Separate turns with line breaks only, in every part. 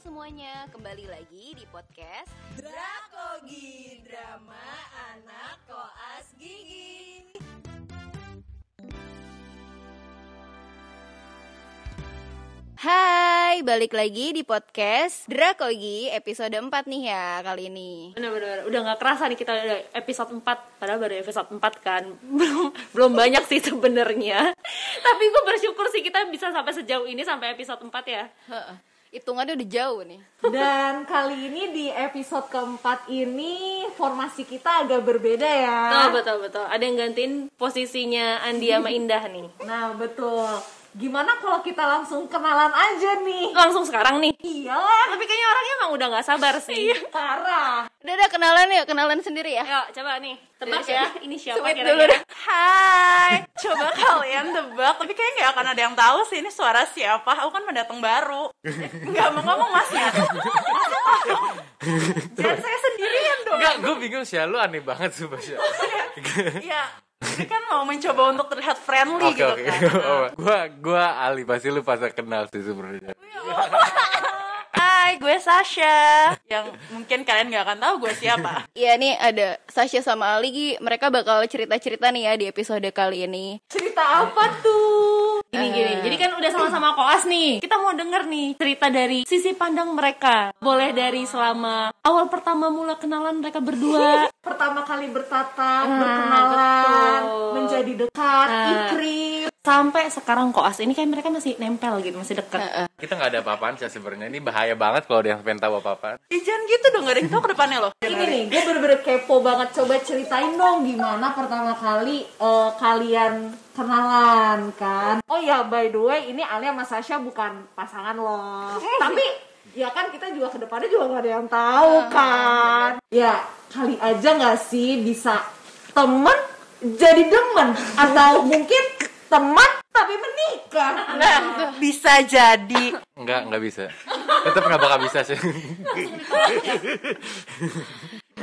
semuanya, kembali lagi di podcast
Drakogi Drama Anak Koas Gigi
Hai, balik lagi di podcast Drakogi episode 4 nih ya kali ini
Bener-bener, udah nggak kerasa nih kita udah episode 4 Padahal baru episode 4 kan Belum belum banyak sih sebenarnya Tapi gue bersyukur sih kita bisa sampai sejauh ini Sampai episode 4 ya
Hitungannya udah jauh nih
Dan kali ini di episode keempat ini formasi kita agak berbeda ya
Betul-betul, ada yang gantiin posisinya Andi sama Indah nih
Nah betul Gimana kalau kita langsung kenalan aja nih? Iya
Langsung sekarang nih
Iyalah,
Tapi kayaknya orangnya emang udah nggak sabar sih
parah
Udah udah kenalan yuk, kenalan sendiri ya
Yuk, coba nih, tebak ya Ini siapa
Sweet dulu
kira-kira
dah.
Hai, coba kalian tebak, tapi kayaknya nggak akan ada yang tahu sih ini suara siapa. Aku kan pendatang baru, nggak mau ngomong masnya. Dan saya sendirian dong.
Enggak, gue bingung sih, ya. lu aneh banget sih ya. Basya.
Iya, ini kan mau mencoba untuk terlihat friendly
Oke
gitu
oke,
kan.
gue gue Ali pasti lu pasti kenal sih sebenarnya.
Hai, gue Sasha. Yang mungkin kalian nggak akan tahu gue siapa.
Iya nih ada Sasha sama Ali, Gi. mereka bakal cerita-cerita nih ya di episode kali ini
Cerita apa tuh?
Gini-gini, jadi kan udah sama-sama koas nih Kita mau denger nih cerita dari sisi pandang mereka Boleh dari selama awal pertama mula kenalan mereka berdua
Pertama kali bertatap,
Ah,
berkenalan,
betul.
menjadi dekat,
Ah.
ikrip
sampai sekarang koas ini kayak mereka masih nempel gitu masih deket
Kita nggak ada apa-apaan sih sebenarnya. Ini bahaya banget kalau ada yang pengen tahu apa-apaan.
Ih, jangan gitu dong, nggak ada yang tahu ke depannya loh.
Ini nih, gue bener-bener kepo banget. Coba ceritain dong gimana pertama kali eh, kalian kenalan kan. Oh ya, by the way, ini Alia sama Sasha bukan pasangan loh. Tapi ya kan kita juga kedepannya juga gak ada yang tahu kan. Ya kali aja nggak sih bisa temen jadi demen atau mungkin teman tapi menikah.
Nah, Ah. Bisa jadi.
Enggak, enggak bisa. Tetap nggak bakal bisa sih.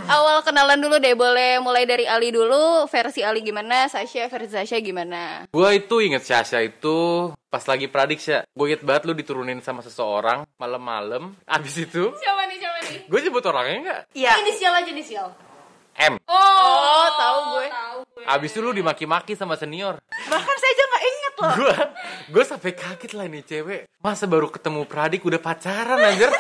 Awal kenalan dulu deh, boleh mulai dari Ali dulu Versi Ali gimana, Sasha versi Sasha gimana
gue itu inget Sasha itu pas lagi pradiksya. Gue inget banget lu diturunin sama seseorang malam-malam. Abis itu,
siapa nih siapa nih
gue sebut orangnya nggak?
Iya.
inisial aja inisial
M.
Oh, tahu gue
Abis itu lu dimaki-maki sama senior.
Bahkan saya aja nggak inget loh.
gue gue sampai kaget lah ini cewek masa baru ketemu Pradik udah pacaran anjir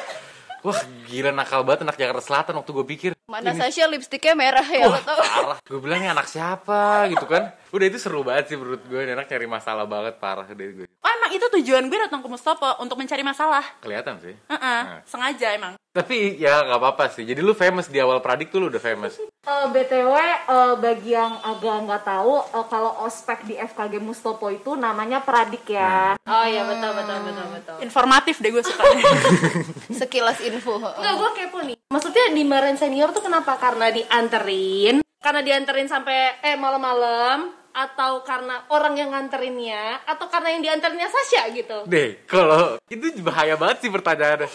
wah gila nakal banget anak Jakarta Selatan waktu gue pikir
Mana Sasha lipstiknya merah ya, lo
wah
tau
parah gue bilang ini anak siapa gitu kan udah itu seru banget sih menurut gue Ini anak cari masalah banget parah dari gue
Oh, emang itu tujuan gue datang ke Mustopo untuk mencari masalah.
kelihatan sih
Heeh,
Ah.
sengaja emang.
tapi ya nggak apa-apa sih jadi lu famous di awal Pradik tuh lu udah famous
Eh, BTW eh, bagi yang agak nggak tahu eh, kalau ospek di FKG Mustopo itu namanya pradik ya.
oh iya betul betul betul betul
Informatif deh gue suka.
Sekilas info
Enggak, gue Nah, kepo nih. Maksudnya dimarahin senior tuh kenapa? Karena dianterin, karena dianterin sampai eh malam-malam, atau karena orang yang nganterinnya, atau karena yang dianterinnya Sasha gitu.
deh kalau itu bahaya banget sih pertanyaannya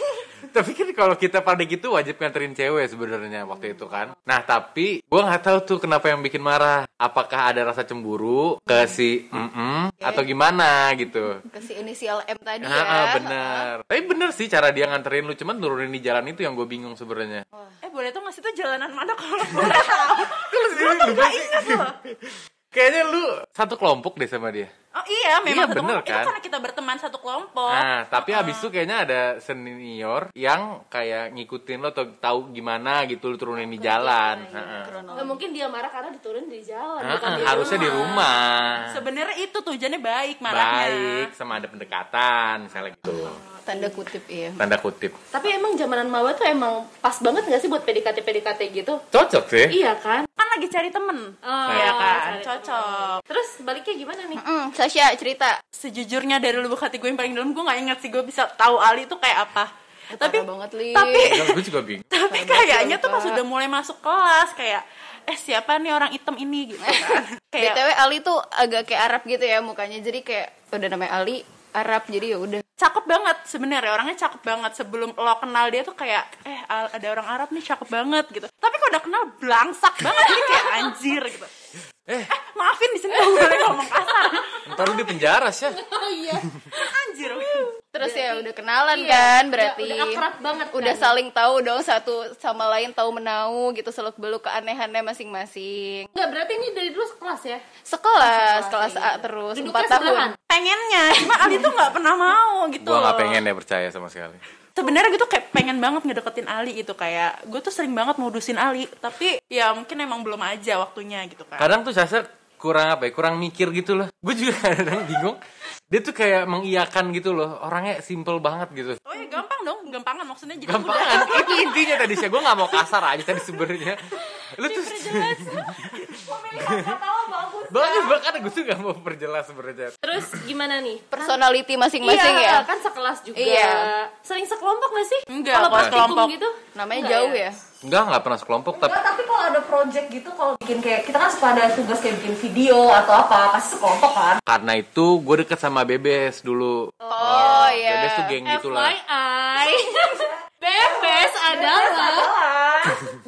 tapi kan kalau kita pada gitu wajib nganterin cewek sebenarnya waktu itu kan nah tapi gua nggak tahu tuh kenapa yang bikin marah apakah ada rasa cemburu ke si mm atau gimana gitu
Kasih inisial M tadi ya
Ah, ah, bener tapi bener sih cara dia nganterin lu cuman nurunin di jalan itu yang gue bingung sebenarnya
Eh boleh tuh ngasih tuh jalanan mana kalau boleh tahu?
Lupa sih. kayaknya lu satu kelompok deh sama dia
Oh iya memang
Iya,
satu
bener
kelompok.
kan?
Itu karena kita berteman satu kelompok.
Nah, tapi habis itu kayaknya ada senior yang kayak ngikutin lo atau tahu gimana gitu lo turunin di jalan. Heeh.
Nggak Eh, mungkin dia marah karena diturunin di jalan.
Heeh,
bukan di
harusnya di rumah.
Sebenarnya itu tujuannya baik marahnya.
Baik, sama ada pendekatan misalnya gitu.
Tanda kutip iya
Tanda kutip.
Tapi emang zamanan mawa tuh emang pas banget gak sih buat PDKT-PDKT gitu?
Cocok sih.
Iya kan?
Kan lagi cari temen.
Oh,
Iya kan,
cari
cocok.
Terus baliknya gimana nih?
Mm, Sasha cerita
Sejujurnya dari lubuk hati gue yang paling dalam gue nggak ingat sih gue bisa tahu Ali itu kayak apa. tapi
Parah banget li
tapi
Enggak, gue juga bingung.
tapi kayaknya tuh pas udah mulai masuk kelas kayak eh siapa nih orang item ini gitu kan. kayak
BTW Ali tuh agak kayak Arab gitu ya mukanya Jadi kayak udah namanya Ali Arab jadi ya udah
cakep banget sebenarnya orangnya cakep banget sebelum lo kenal dia tuh kayak eh Al- ada orang Arab nih cakep banget gitu tapi kalau udah kenal belangsak banget ini kayak anjir gitu eh, maafin di sini nggak boleh ngomong kasar
Ntar lu di penjara sih.
anjir
Terus ya udah kenalan kan berarti.
udah akrab banget kan?
Udah saling tahu dong satu sama lain tahu menau gitu seluk beluk keanehannya masing-masing.
Enggak, berarti ini dari dulu sekelas ya?
Sekelas, kelas A terus
Duduknya
empat tahun.
sebelahan.
pengennya cuma Ali tuh nggak pernah mau gitu
Gua nggak
loh.
pengen deh percaya sama sekali.
sebenarnya gue tuh kayak pengen banget ngedeketin Ali gitu kayak gue tuh sering banget modusin Ali tapi ya mungkin emang belum aja waktunya gitu kan
Kadang tuh Sasa kurang apa ya, kurang mikir gitu loh. Gue juga kadang bingung. Dia tuh kayak mengiyakan gitu loh. Orangnya simple banget gitu.
oh ya gampang dong gampangan maksudnya jadi
Gampang
udah
kan? Itu intinya tadi sih. Gue gak mau kasar aja tadi sebenarnya. Lu tuh bagus banget. Gue tuh gak mau perjelas sebenarnya.
Terus gimana nih?
Personality masing-masing ya.
kan sekelas juga.
Iya.
Sering sekelompok gak sih?
Enggak,
Kalau
kalau
praktikum
sekelompok.
gitu?
Namanya
Enggak
jauh ya.
Enggak, gak pernah sekelompok. Tapi
Enggak, tapi kalau ada project gitu kalau bikin kayak kita kan suka ada tugas kayak bikin video atau apa pasti sekelompok kan
karena itu gue deket sama Bebes dulu.
Oh iya.
Bebes tuh
Eh,
geng gitu lah.
FYI. Bebes adalah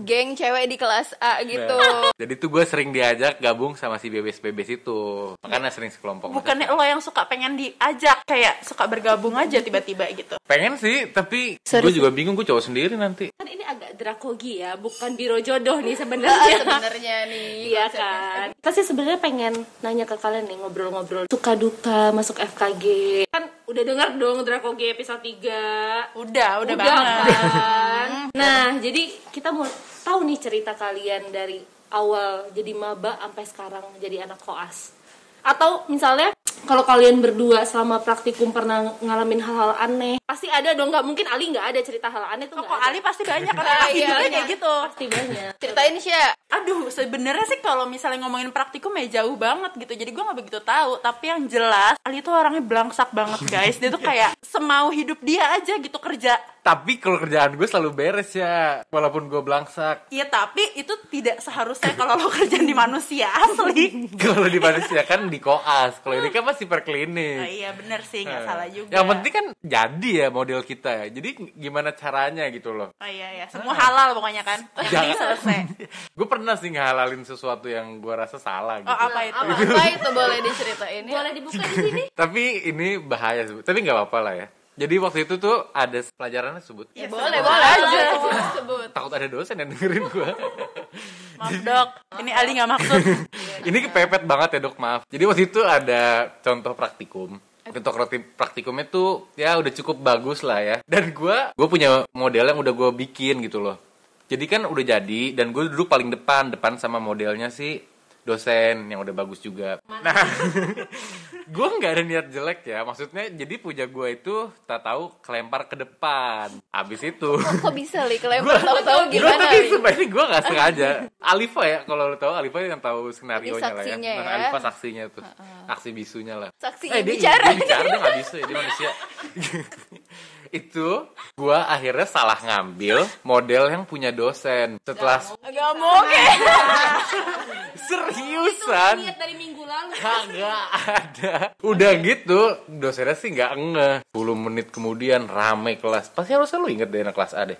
Geng cewek di kelas
Nah.
A gitu.
Jadi tuh gue sering diajak gabung sama si Bebes-Bebes itu. Makanya sering sekelompok.
bukannya lo yang suka pengen diajak kayak suka bergabung aja tiba-tiba gitu
Pengen sih, tapi
Sorry.
gue juga bingung gue cowok sendiri nanti.
kan ini agak drakogi ya, bukan biro jodoh nih
Iya.
sebenarnya.
Ah, Sebenarnya nih.
Iya kan. Kita sih sebenarnya pengen nanya ke kalian nih ngobrol-ngobrol suka duka masuk FKG. Kan udah dengar dong Drakogi episode 3.
udah udah,
Udah
banget
kan? nah, jadi kita mau tahu nih cerita kalian dari awal jadi maba sampai sekarang jadi anak koas. Atau misalnya kalau kalian berdua selama praktikum pernah ngalamin hal-hal aneh, pasti ada dong. Nggak mungkin Ali nggak ada cerita hal aneh tuh. nggak
kok
ada.
Ali pasti banyak karena
iya,
hidupnya
iya.
kayak gitu
pasti banyak.
Ceritain Sya.
Aduh, sebenarnya sih kalau misalnya ngomongin praktikum ya jauh banget gitu. Jadi gua nggak begitu tahu. Tapi yang jelas, Ali tuh orangnya belangsak banget guys. Dia tuh kayak semau hidup dia aja gitu kerja.
Tapi kalau kerjaan gue selalu beres ya, walaupun gue belangsak.
Iya, tapi itu tidak seharusnya kalau lo kerja di manusia asli.
Kalau di manusia kan di koas, kalau ini kan masih per
Nah,
klinik.
iya bener sih, nggak salah juga.
Yang penting kan jadi ya model kita ya. Jadi gimana caranya gitu loh.
Oh iya, iya. Semua halal pokoknya kan. Yang penting
Jangan.
selesai.
Gue pernah sih ngehalalin sesuatu yang gue rasa salah gitu.
Oh, apa itu?
Apa itu boleh diceritain ya?
Boleh dibuka di sini?
Tapi ini bahaya, sih. tapi nggak apa-apa lah ya. Jadi waktu itu tuh ada pelajarannya sebut.
Ya,
Boleh,
semua.
boleh aja. Sebut.
Takut ada dosen yang dengerin gue.
Maaf, Dok. Ini Ali nggak maksud.
ini kepepet banget ya dok, maaf. Jadi waktu itu ada contoh praktikum. Contoh prakti- praktikumnya tuh ya udah cukup bagus lah ya. Dan gua gue punya model yang udah gue bikin gitu loh. Jadi kan udah jadi dan gue duduk paling depan, depan sama modelnya si dosen yang udah bagus juga. Nah, gue nggak ada niat jelek ya. Maksudnya jadi puja gue itu tak tahu kelempar ke depan. Abis itu.
Kok bisa li kelempar tahu-tahu Oh,
Gue
gimana?
tadi
Li?
sumpah ini gue gak sengaja Alifa ya kalau lo tau Alifa yang tahu skenario nya lah ya
saksinya
Nah,
ya.
Alifa saksinya tuh Aksi bisunya lah
Saksi
Eh, dia,
bicara.
dia bicara dia gak bisa ya dia manusia Itu gue akhirnya salah ngambil model yang punya dosen Setelah
Nggak mungkin.
seriusan
Lihat dari minggu lalu.
Kagak ada. Udah gitu, dosennya sih nggak ngeh. 10 menit kemudian rame kelas. Pasti harusnya lu inget deh anak kelas A deh.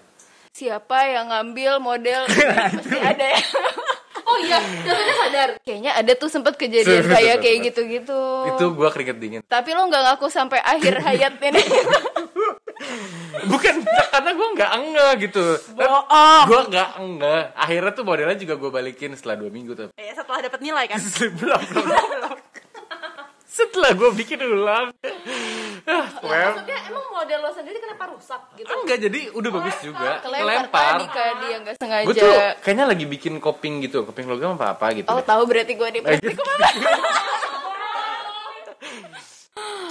Siapa yang ngambil model? Pasti ada ya.
Oh iya, dosennya sadar.
Kayaknya ada tuh sempet kejadian
Sempet,
kayak
sempet,
kayak
sempet.
gitu-gitu.
Itu gue keringet dingin.
Tapi lo nggak ngaku sampai akhir hayat ini.
bukan karena gue nggak enge gitu
Bohong.
gue nggak enge akhirnya tuh modelnya juga gue balikin setelah dua minggu tuh
Ya, setelah dapat nilai kan.
Belum, belum. setelah gue bikin ulang Ah, well,
Maksudnya emang model lo sendiri kenapa rusak gitu?
enggak jadi udah bagus juga
Kelempar
kelempar
tadi kan dia nggak sengaja.
gue tuh kayaknya lagi bikin koping gitu koping logam apa apa gitu
Oh
deh.
tahu berarti gue di
Eh, gitu.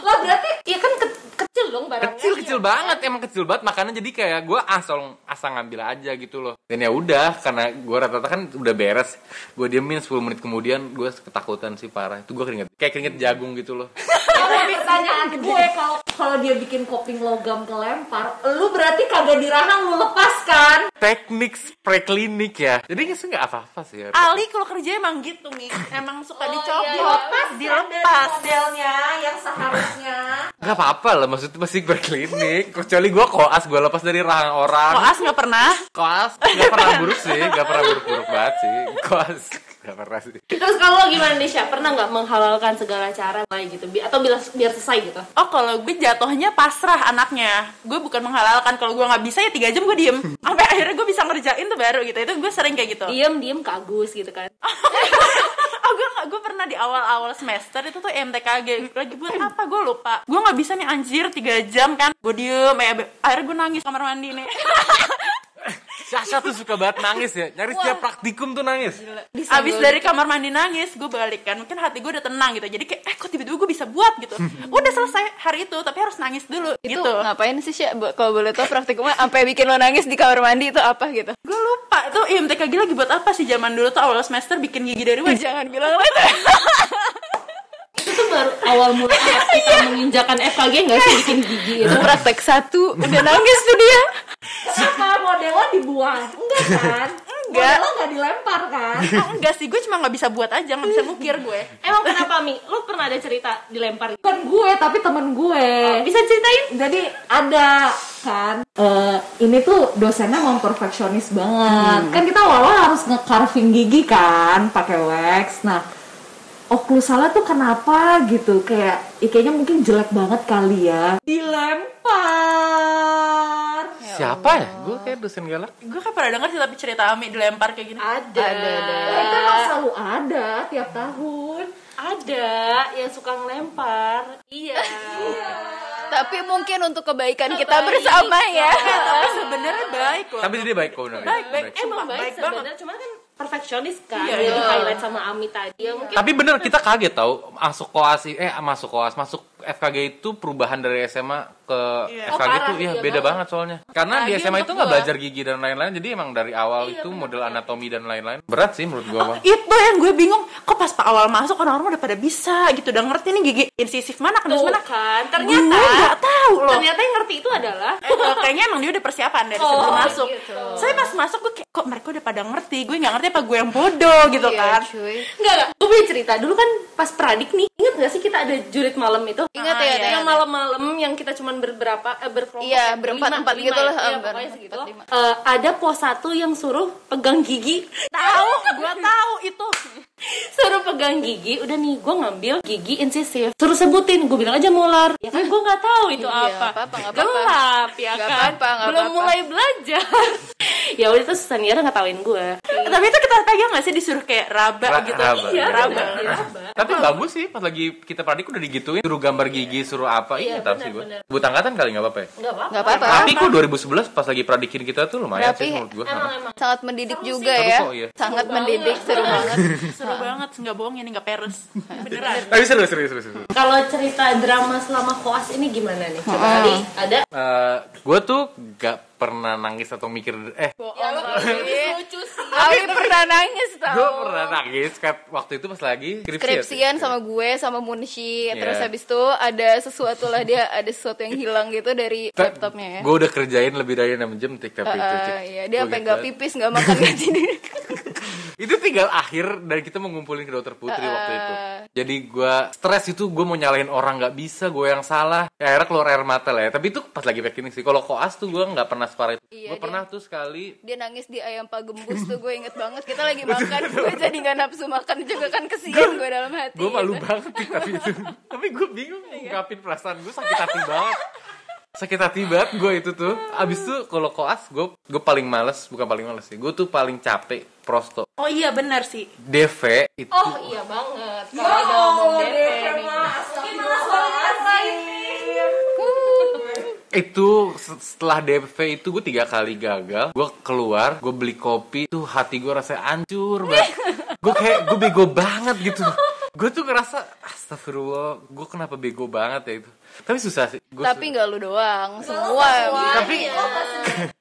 Lah berarti ya kan ke- kecil dong barangnya.
kecil kecil banget emang kecil banget makanya jadi kayak gue asal asal ngambil aja gitu loh dan ya udah karena gue rata-rata kan udah beres gue diemin 10 menit kemudian gue ketakutan sih parah itu gue keringet kayak keringet jagung gitu loh
Kalau Nah, pertanyaan gue kalau kalau dia bikin koping logam kelempar lu berarti kagak dirahang lu kan? lepaskan
teknik preklinik ya jadi itu nggak apa-apa sih ya.
Ali kalau kerja emang gitu, Mi. Emang suka dicopot,
dilepas
dilepas.
modelnya yang seharusnya
nggak apa-apa lah maksudnya masih preklinik kecuali gue koas gue lepas dari rahang orang
Koas nggak pernah.
koas nggak pernah buruk sih nggak pernah buruk-buruk banget sih koas Gak pernah sih.
Terus kalau gimana Desya? Pernah nggak menghalalkan segala cara mulai gitu? Bi- atau biar, biar selesai gitu?
Oh kalau gue jatuhnya pasrah anaknya Gue bukan menghalalkan Kalau gue nggak bisa ya tiga jam gue diem Sampai akhirnya gue bisa ngerjain tuh baru gitu Itu gue sering kayak gitu
Diem diem ke Agus gitu kan?
oh gue nggak gue pernah di awal-awal semester itu tuh MTKG lagi buat apa gue lupa gue nggak bisa nih anjir tiga jam kan gue diem ya Be- akhirnya gue nangis kamar mandi nih
Sasha tuh suka banget nangis ya. Nyaris tiap praktikum tuh nangis.
abis dari kamar mandi nangis gue balik kan mungkin hati gue udah tenang gitu jadi kayak eh kok tiba-tiba gue bisa buat gitu udah selesai hari itu tapi harus nangis dulu
Itu
gitu
ngapain sih Sya? Bo- Kalau boleh tau praktikumnya sampai bikin lo nangis di kamar mandi itu apa gitu?
gue lupa itu IMTKG lagi buat apa sih zaman dulu tuh awal semester bikin gigi dari wajah
Jangan bilang lo itu.
Itu tuh Kan baru awal mula
Iya.
kita menginjakan FKG nggak sih bikin gigi itu?
Itu praktek satu udah nangis tuh dia.
Kenapa modelnya dibuang? Enggak kan?
Enggak.
Modelnya nggak dilempar kan?
Ah, enggak sih gue cuma nggak bisa buat aja nggak bisa mukir gue
Emang kenapa Mi? Lu pernah ada cerita dilempar? gitu?
Bukan gue tapi temen gue.
Bisa ceritain?
Jadi ada kan eh, ini tuh dosennya mau perfeksionis
Hmm.
banget. Kan kita awal harus nge-carving gigi kan pakai wax. Nah, oklusalnya tuh kenapa gitu kayak "Ih, kayaknya mungkin jelek banget kali ya. Dilempar.
Siapa ya? Gue kayak dosen galak.
gue kan pernah denger sih tapi cerita Ami dilempar kayak gini
Ada. Ada.
Itu emang Kan
Iya.
selalu ada tiap tahun.
yang suka ngelempar. Iya.
Tapi mungkin untuk kebaikan kita bersama ya.
Iya, tapi sebenarnya baik loh
Tapi dia baik kok bener.
Baik, baik.
Emang
Sumpah,
baik,
baik banget.
sebenarnya, cuman kan perfeksionis kan
Iya,
yang
iya.
di highlight sama Ami tadi. Ya, mungkin
Tapi bener kita kaget tau masuk koas i- eh masuk koas masuk FKG itu perubahan dari SMA ke
Oh,
Iya.
FKG
parah,
itu iya
iya
beda
banget.
banget soalnya. Karena di
Apalagi
SMA itu
untuk gua.
nggak
Iya,
belajar gigi dan lain-lain jadi emang dari awal itu model anatomi dan lain-lain. Berat sih menurut
Oh,
gua, Bang.
itu yang gue bingung kok pas pak awal masuk orang-orang udah pada bisa gitu udah ngerti nih gigi incisif mana
Tuh
kandus mana
kan,
gue
ternyata
nggak tahu loh
ternyata yang ngerti itu adalah
Eh, eh, kayaknya emang dia udah persiapan dari sebelum
Oh,
masuk.
gitu.
Saya pas masuk gue kayak kok mereka udah pada ngerti, gue nggak ngerti apa gue yang bodoh gitu kan.
Iya, cuy.
Enggak, enggak. Gue punya cerita. Dulu kan pas pradik nih, inget gak sih kita ada jurit malam itu?
Ingat, ya,
Ah, iya.
ya,
Yang
ya.
malam-malam yang kita cuman berberapa eh, berkelompok.
Iya,
ya,
berempat-empat
berlima,
gitu lah.
berlima ya. Iya,
Berempat,
pokoknya segitu.
berlima.
Eh, ada pos satu yang suruh pegang gigi.
Tahu, gue tahu itu.
suruh pegang gigi. Udah nih, gue ngambil gigi incisif. Suruh sebutin, gue bilang aja molar. Ya kan gue nggak tahu itu
Iya,
apa.
nggak apa-apa, nggak apa-apa.
Gelap ya
Nggak
kan.
apa-apa, nggak
Belum
apa-apa.
mulai belajar. ya udah terus Saniara ngetawain gue.
Tapi itu kita pegang nggak sih disuruh kayak raba
Ra-
gitu.
raba.
Iya, raba.
Tapi bagus sih pas lagi kita pradik udah digituin suruh gambar gigi suruh apa iya, tapi sih gua. Buat angkatan kali nggak apa-apa ya.
Enggak apa-apa.
Gak apa-apa.
Tapi kok 2011 pas lagi pradikin kita tuh lumayan
Tapi-
sih menurut gua.
Sangat mendidik juga
Seru
ya.
kok, iya.
Sangat mendidik seru banget.
Seru banget, nggak bohong ini nggak peres. Beneran.
Tapi seru seru seru. seru.
Kalau cerita drama selama koas ini gimana nih? Coba kali ada
Eh, gue tuh gak pernah nangis atau mikir eh
Ya,
lucu sih.
Tapi pernah nangis tau.
gue pernah nangis kayak waktu itu pas lagi skripsi ya, sih?
skripsian sama gue sama Munshi
Iya.
terus habis itu ada sesuatu lah dia ada sesuatu yang hilang gitu dari laptopnya ya
gue udah kerjain lebih dari 6 jam tik tapi itu Cik.
Eh, iya dia
Gua gitu
sampai
ingat
nggak
banget.
pipis nggak makan nggak tidur
itu tinggal akhir dan kita mau ngumpulin ke dokter
Eh,
putri waktu itu jadi gue stres itu gue mau nyalain orang nggak bisa gue yang salah ya, akhirnya keluar air mata lah ya tapi itu pas lagi packing sih kalau koas tuh gue nggak pernah separah itu
Iya,
gue
dia-
pernah tuh sekali
dia nangis di ayam pak gembus tuh gue inget banget kita lagi makan gue jadi nggak nafsu makan juga kan kesian gue dalam hati
gue malu banget sih tapi itu Iya, kan? tapi gue bingung
Iya.
ngungkapin perasaan gue sakit hati banget sakit hati banget gue itu tuh abis tuh kalau koas gue gue paling males bukan paling males sih gue tuh paling capek prosto
Oh iya bener sih.
DV itu
Oh iya banget. Kalau ada ngomong DP nih.
ya,
itu se- setelah DV itu gue tiga kali gagal gue keluar gue beli kopi tuh hati gue rasanya hancur banget gue kayak gue bego banget gitu gue tuh ngerasa astagfirullah gue kenapa bego banget ya itu tapi susah sih Gua
tapi nggak lu doang semua
tapi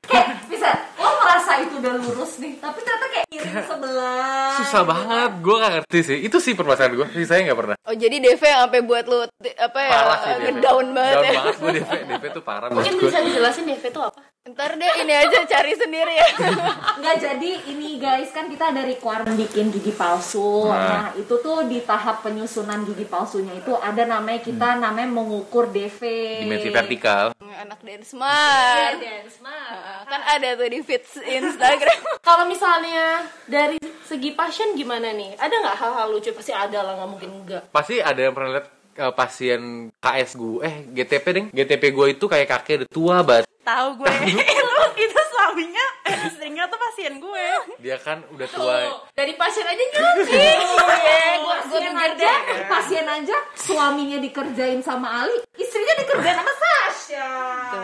kayak bisa lo merasa itu udah lurus nih tapi ternyata kayak kiri sebelah
susah banget gue gak ngerti sih itu sih permasalahan gue sih saya nggak pernah
oh jadi DV yang sampai buat lu t- apa ya
parah sih DP
ngedown banget
down
ya
banget gue DP DP tuh parah
Mungkin
menurut gue
bisa dijelasin DP itu apa?
Ntar deh ini aja cari sendiri ya.
Nggak jadi ini guys kan kita ada requirement bikin gigi palsu.
Nah.
Nah, itu tuh di tahap penyusunan gigi palsunya itu ada namanya kita namanya mengukur DV.
Hmm. dimensi vertikal
Anak dance
Iya,
Iya.
smart. Kan ada tuh di feeds Instagram.
Kalau misalnya dari segi passion gimana nih? Ada nggak hal-hal lucu? Pasti ada lah, nggak mungkin enggak.
pasti ada yang pernah lihat eh, pasien KS gue eh GTP deng GTP gue itu kayak kakek udah tua banget
Tahu gue. Lu itu suaminya, eh, istrinya tuh pasien gue.
dia kan udah tua
Dari passion aja nyelupin. Iya, gua gua
Pasien
pikir
aja,
deh.
pasien aja suaminya dikerjain sama Ali, istrinya dikerjain sama
Iya.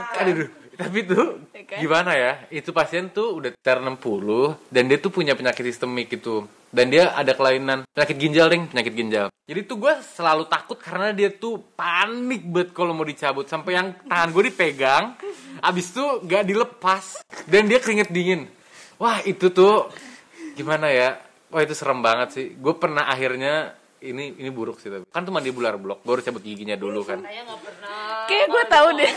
Sasha.
aduh duh. tapi tuh gimana ya itu pasien tuh udah sekitar 60 dan dia tuh punya penyakit sistemik gitu dan dia ada kelainan penyakit ginjal deng penyakit ginjal jadi tuh gue selalu takut karena dia tuh panik banget kalau mau dicabut sampai yang tangan gue dipegang abis tuh gak dilepas dan dia keringet dingin wah itu tuh gimana ya wah itu serem banget sih gue pernah akhirnya ini ini buruk sih tapi kan tuh mandi bular blok gue harus cabut giginya dulu kan
Kayak gue tahu deh.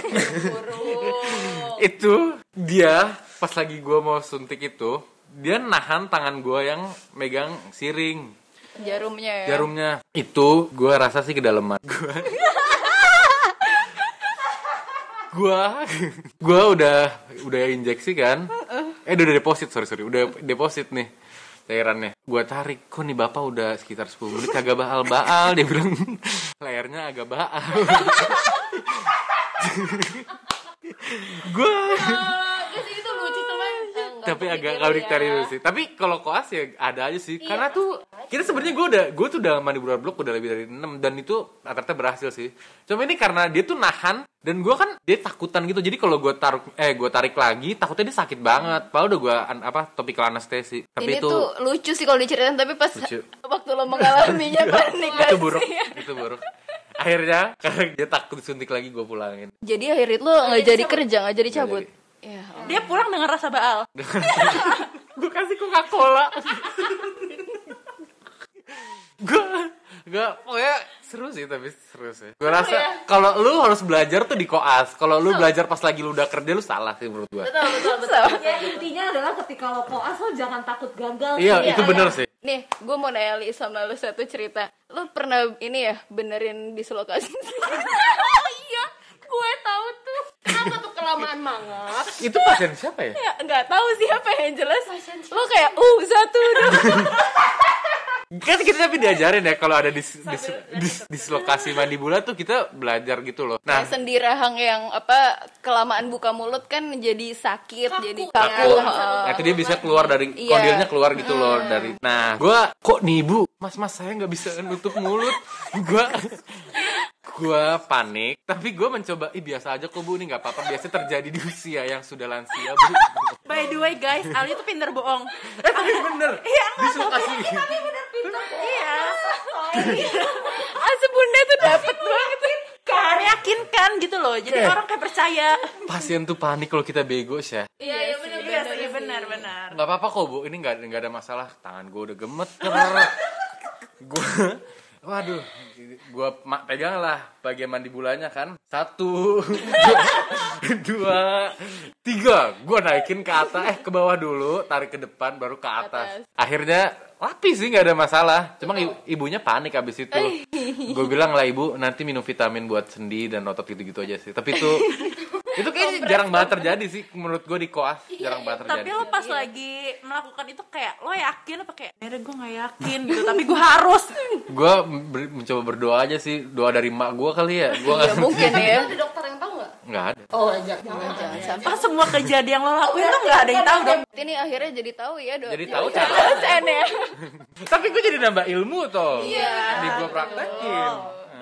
itu dia pas lagi gue mau suntik itu dia nahan tangan gue yang megang siring
Jarumnya ya.
jarumnya itu gue rasa sih kedalaman gue gue gue udah udah injeksi kan eh udah deposit sorry sorry udah deposit nih cairannya gue tarik kok nih bapak udah sekitar 10 menit agak baal baal dia bilang layarnya agak baal gue
Itu lucu teman. Eh, nggak
tapi agak
kepikiran
kalau
ya.
diktarin sih tapi kalau koas ya ada aja sih karena tuh kita sebenarnya gue udah gue tuh udah mandi bulan blok udah lebih dari 6 dan itu rata-rata berhasil sih cuma ini karena dia tuh nahan dan gue kan dia takutan gitu jadi kalau gue tarik eh gue tarik lagi takutnya dia sakit banget padahal udah gue an- apa topikal anestesi tapi
Ini
itu
tuh lucu sih kalau diceritain tapi pas
Lucu.
waktu lo mengalaminya panik
itu
kan
buruk
sih.
itu buruk akhirnya karena dia takut disuntik lagi gue pulangin
Jadi akhirnya lo nggak jadi kerja nggak jadi cabut. Ya.
Dia pulang dengan rasa baal.
gue kasih coca cola gue gue pokoknya seru sih tapi seru ya? sih gue rasa kalau lu harus belajar tuh di koas kalau lu belajar pas lagi lu udah kerja lu salah sih menurut gue
Betul, betul, betul.
Ya intinya adalah ketika lo koas lo jangan takut gagal.
iya itu bener sih
Nih, gue mau nanya Li sama lo satu cerita. Lo pernah ini ya benerin dislokasi?
Oh iya, gue tahu tuh. Apa tuh kelamaan banget?
itu pasien siapa ya
ya, nggak tahu sih apa yang jelas. Lo kayak uh satu dua.
kan kita tapi diajarin ya kalau ada dis, dis- dis- dislokasi mandibula tuh kita belajar gitu loh nah
Kayak sendirahang yang apa kelamaan buka mulut kan jadi sakit, jadi kaku.
aku
Heeh.
nah, itu dia bisa keluar dari
Iya.
kodirnya keluar gitu loh dari nah gua kok nih ibu mas mas saya nggak bisa nutup mulut gua gua panik tapi gua mencoba ih biasa aja kok bu ini nggak apa-apa biasa terjadi di usia yang sudah lansia bu
By the way guys, Ali tuh pinter bohong.
Eh, tapi bener dislokasi
Iya.
Asap bunda tuh dapet banget.
Karena meyakinkan gitu loh. Jadi
Oke.
orang kayak percaya.
pasien tuh panik kalau kita bego sih ya.
Iya, iya benar Iya, sih, benar benar.
nggak apa-apa kok bu ini nggak nggak ada masalah tangan gua udah gemeter gua waduh gua ma- pegang lah bagian mandibulanya kan satu dua tiga gua naikin ke atas eh ke bawah dulu tarik ke depan baru ke atas akhirnya rapi sih nggak ada masalah cuma i- ibunya panik abis itu gue bilang lah ibu nanti minum vitamin buat sendi dan otot gitu-gitu aja sih tapi itu itu kayaknya jarang banget terjadi sih menurut gue di koas jarang banget terjadi
Tapi lo pas
Iya.
lagi melakukan itu kayak lo yakin apa kayak "Akhirnya gue gak yakin gitu tapi gue harus
gue mencoba berdoa aja sih doa dari mak gue kali ya gue nggak
Ya mungkin ya.
Ada dokter yang tahu nggak?
nggak ada
pas semua kejadian lo lakuin
Iya,
lo gak ada yang tahu dong
Ini akhirnya jadi tahu ya dok.
jadi tahu
Ya,
cara
alasan ya.
tapi gue jadi nambah ilmu toh iya di gue praktekin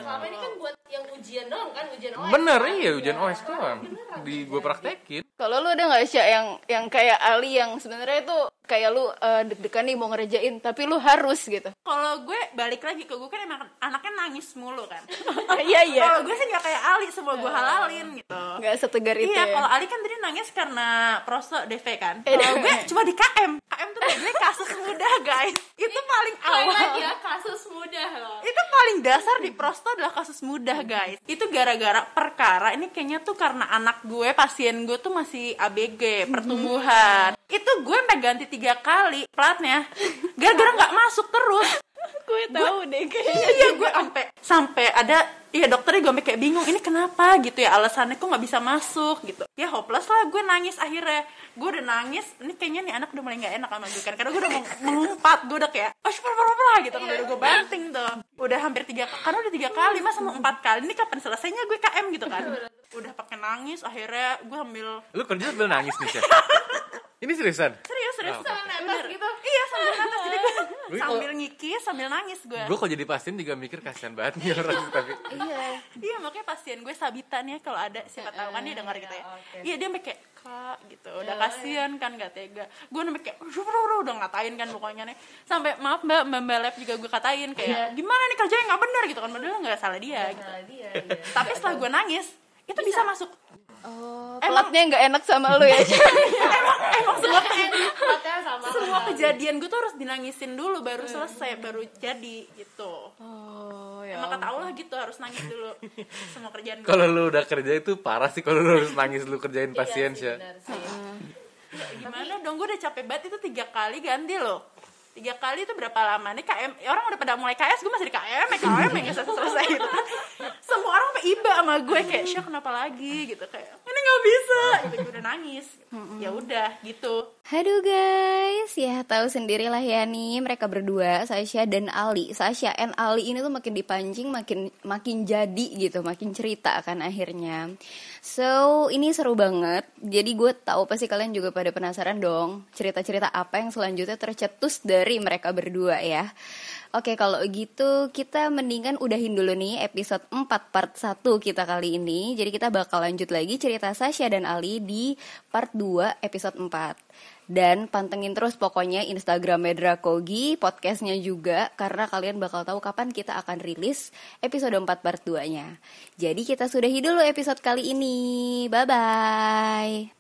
Selama ini kan buat yang ujian doang kan, ujian OS.
bener iya ujian OS doang di gue praktekin
Kalau lu ada nggak sih yang yang kayak Ali yang sebenarnya tuh kayak lu eh, deg-degan nih mau ngerjain tapi lu harus gitu
Kalau gue balik lagi ke gue kan emang anaknya nangis mulu kan.
iya iya Nah.
Kalau gue sih nggak kayak Ali, semua gue halalin gitu.
nggak setegar itu
Iya,
ya. Eh,
kalau Ali kan tadi nangis karena proso DV kan. Kalau gue cuma di KM. KM tuh biasanya kasus mudah, guys. Itu paling
Lain
awal.
lagi ya kasus mudah loh.
Itu paling dasar di prosto adalah kasus mudah, guys. Itu gara-gara perkara ini kayaknya tuh karena anak gue, pasien gue tuh masih
Mm-hmm.
ABG, pertumbuhan. Itu gue sampai ganti tiga kali platnya. Gara-gara nggak masuk terus.
gue tahu deh kayaknya
Iya gue sampai sampai ada Iya dokternya gue sampai kayak bingung ini kenapa gitu ya alasannya kok nggak bisa masuk gitu ya hopeless lah gue nangis akhirnya gue udah nangis ini kayaknya nih anak udah mulai nggak enak sama gue kan karena gue udah mau mengumpat gue udah kayak oh syukur syukur, syukur," gitu kan udah gue banting tuh udah hampir tiga karena udah tiga kali masa mau empat kali ini kapan selesainya gue KM gitu kan udah pakai nangis akhirnya gue ambil
Lu kerja sambil nangis nih, Chef. Ini seriusan?
serius serius
Oh, oke.
sambil nangis gitu iya sambil nangis jadi gue
Wih, kalau-
sambil ngikis sambil nangis gue
Gue kalau jadi pasien juga mikir kasihan banget nih orang tapi
Iya makanya pasien gue Sabita nih ya, kalau ada siapa tahu kan dia dengar gitu ya. Iya dia sampai kayak kak gitu, udah kasihan kan gak tega. Gue sampai kayak "Ruh, ruh, ruh," udah ngatain kan pokoknya nih. Sampai maaf mbak mbak mbak Lab juga gue katain kayak gimana nih kerjanya nggak benar gitu kan padahal Iya. nggak salah dia. gitu. Tapi setelah gue nangis itu bisa, masuk.
pelatnya Oh, nggak enak sama lu ya
emang emang semua
Platnya sama.
eh, semua kejadian gue tuh harus dinangisin dulu baru selesai baru jadi gitu.
oh ya
Emang kata Allah gitu harus nangis dulu semua kerjaan gue.
kalau lu udah kerja itu parah sih kalau lu harus nangis lu kerjain pasien Iya sih.
gimana dong gue udah capek banget itu tiga kali ganti loh tiga kali itu berapa lama nih KM ya orang udah pada mulai KS gue masih di KM eh, KM yang selesai selesai gitu kan semua orang sampai iba sama gue kayak Syah kenapa lagi gitu kayak ini nggak bisa gitu gue udah nangis ya udah gitu
Aduh guys, ya tahu sendirilah ya nih mereka berdua Sasha dan Ali. Sasha and Ali ini tuh makin dipancing makin makin jadi gitu, makin cerita kan akhirnya. So, ini seru banget. Jadi gue tahu pasti kalian juga pada penasaran dong cerita-cerita apa yang selanjutnya tercetus dari mereka berdua ya. Oke, kalau gitu kita mendingan udahin dulu nih episode 4 part 1 kita kali ini. Jadi kita bakal lanjut lagi cerita Sasha dan Ali di part 2 episode 4. Dan pantengin terus pokoknya Instagramnya Drakogi, podcastnya juga, karena kalian bakal tahu kapan kita akan rilis episode 4 part 2-nya. Jadi kita sudahi dulu episode kali ini. Bye-bye.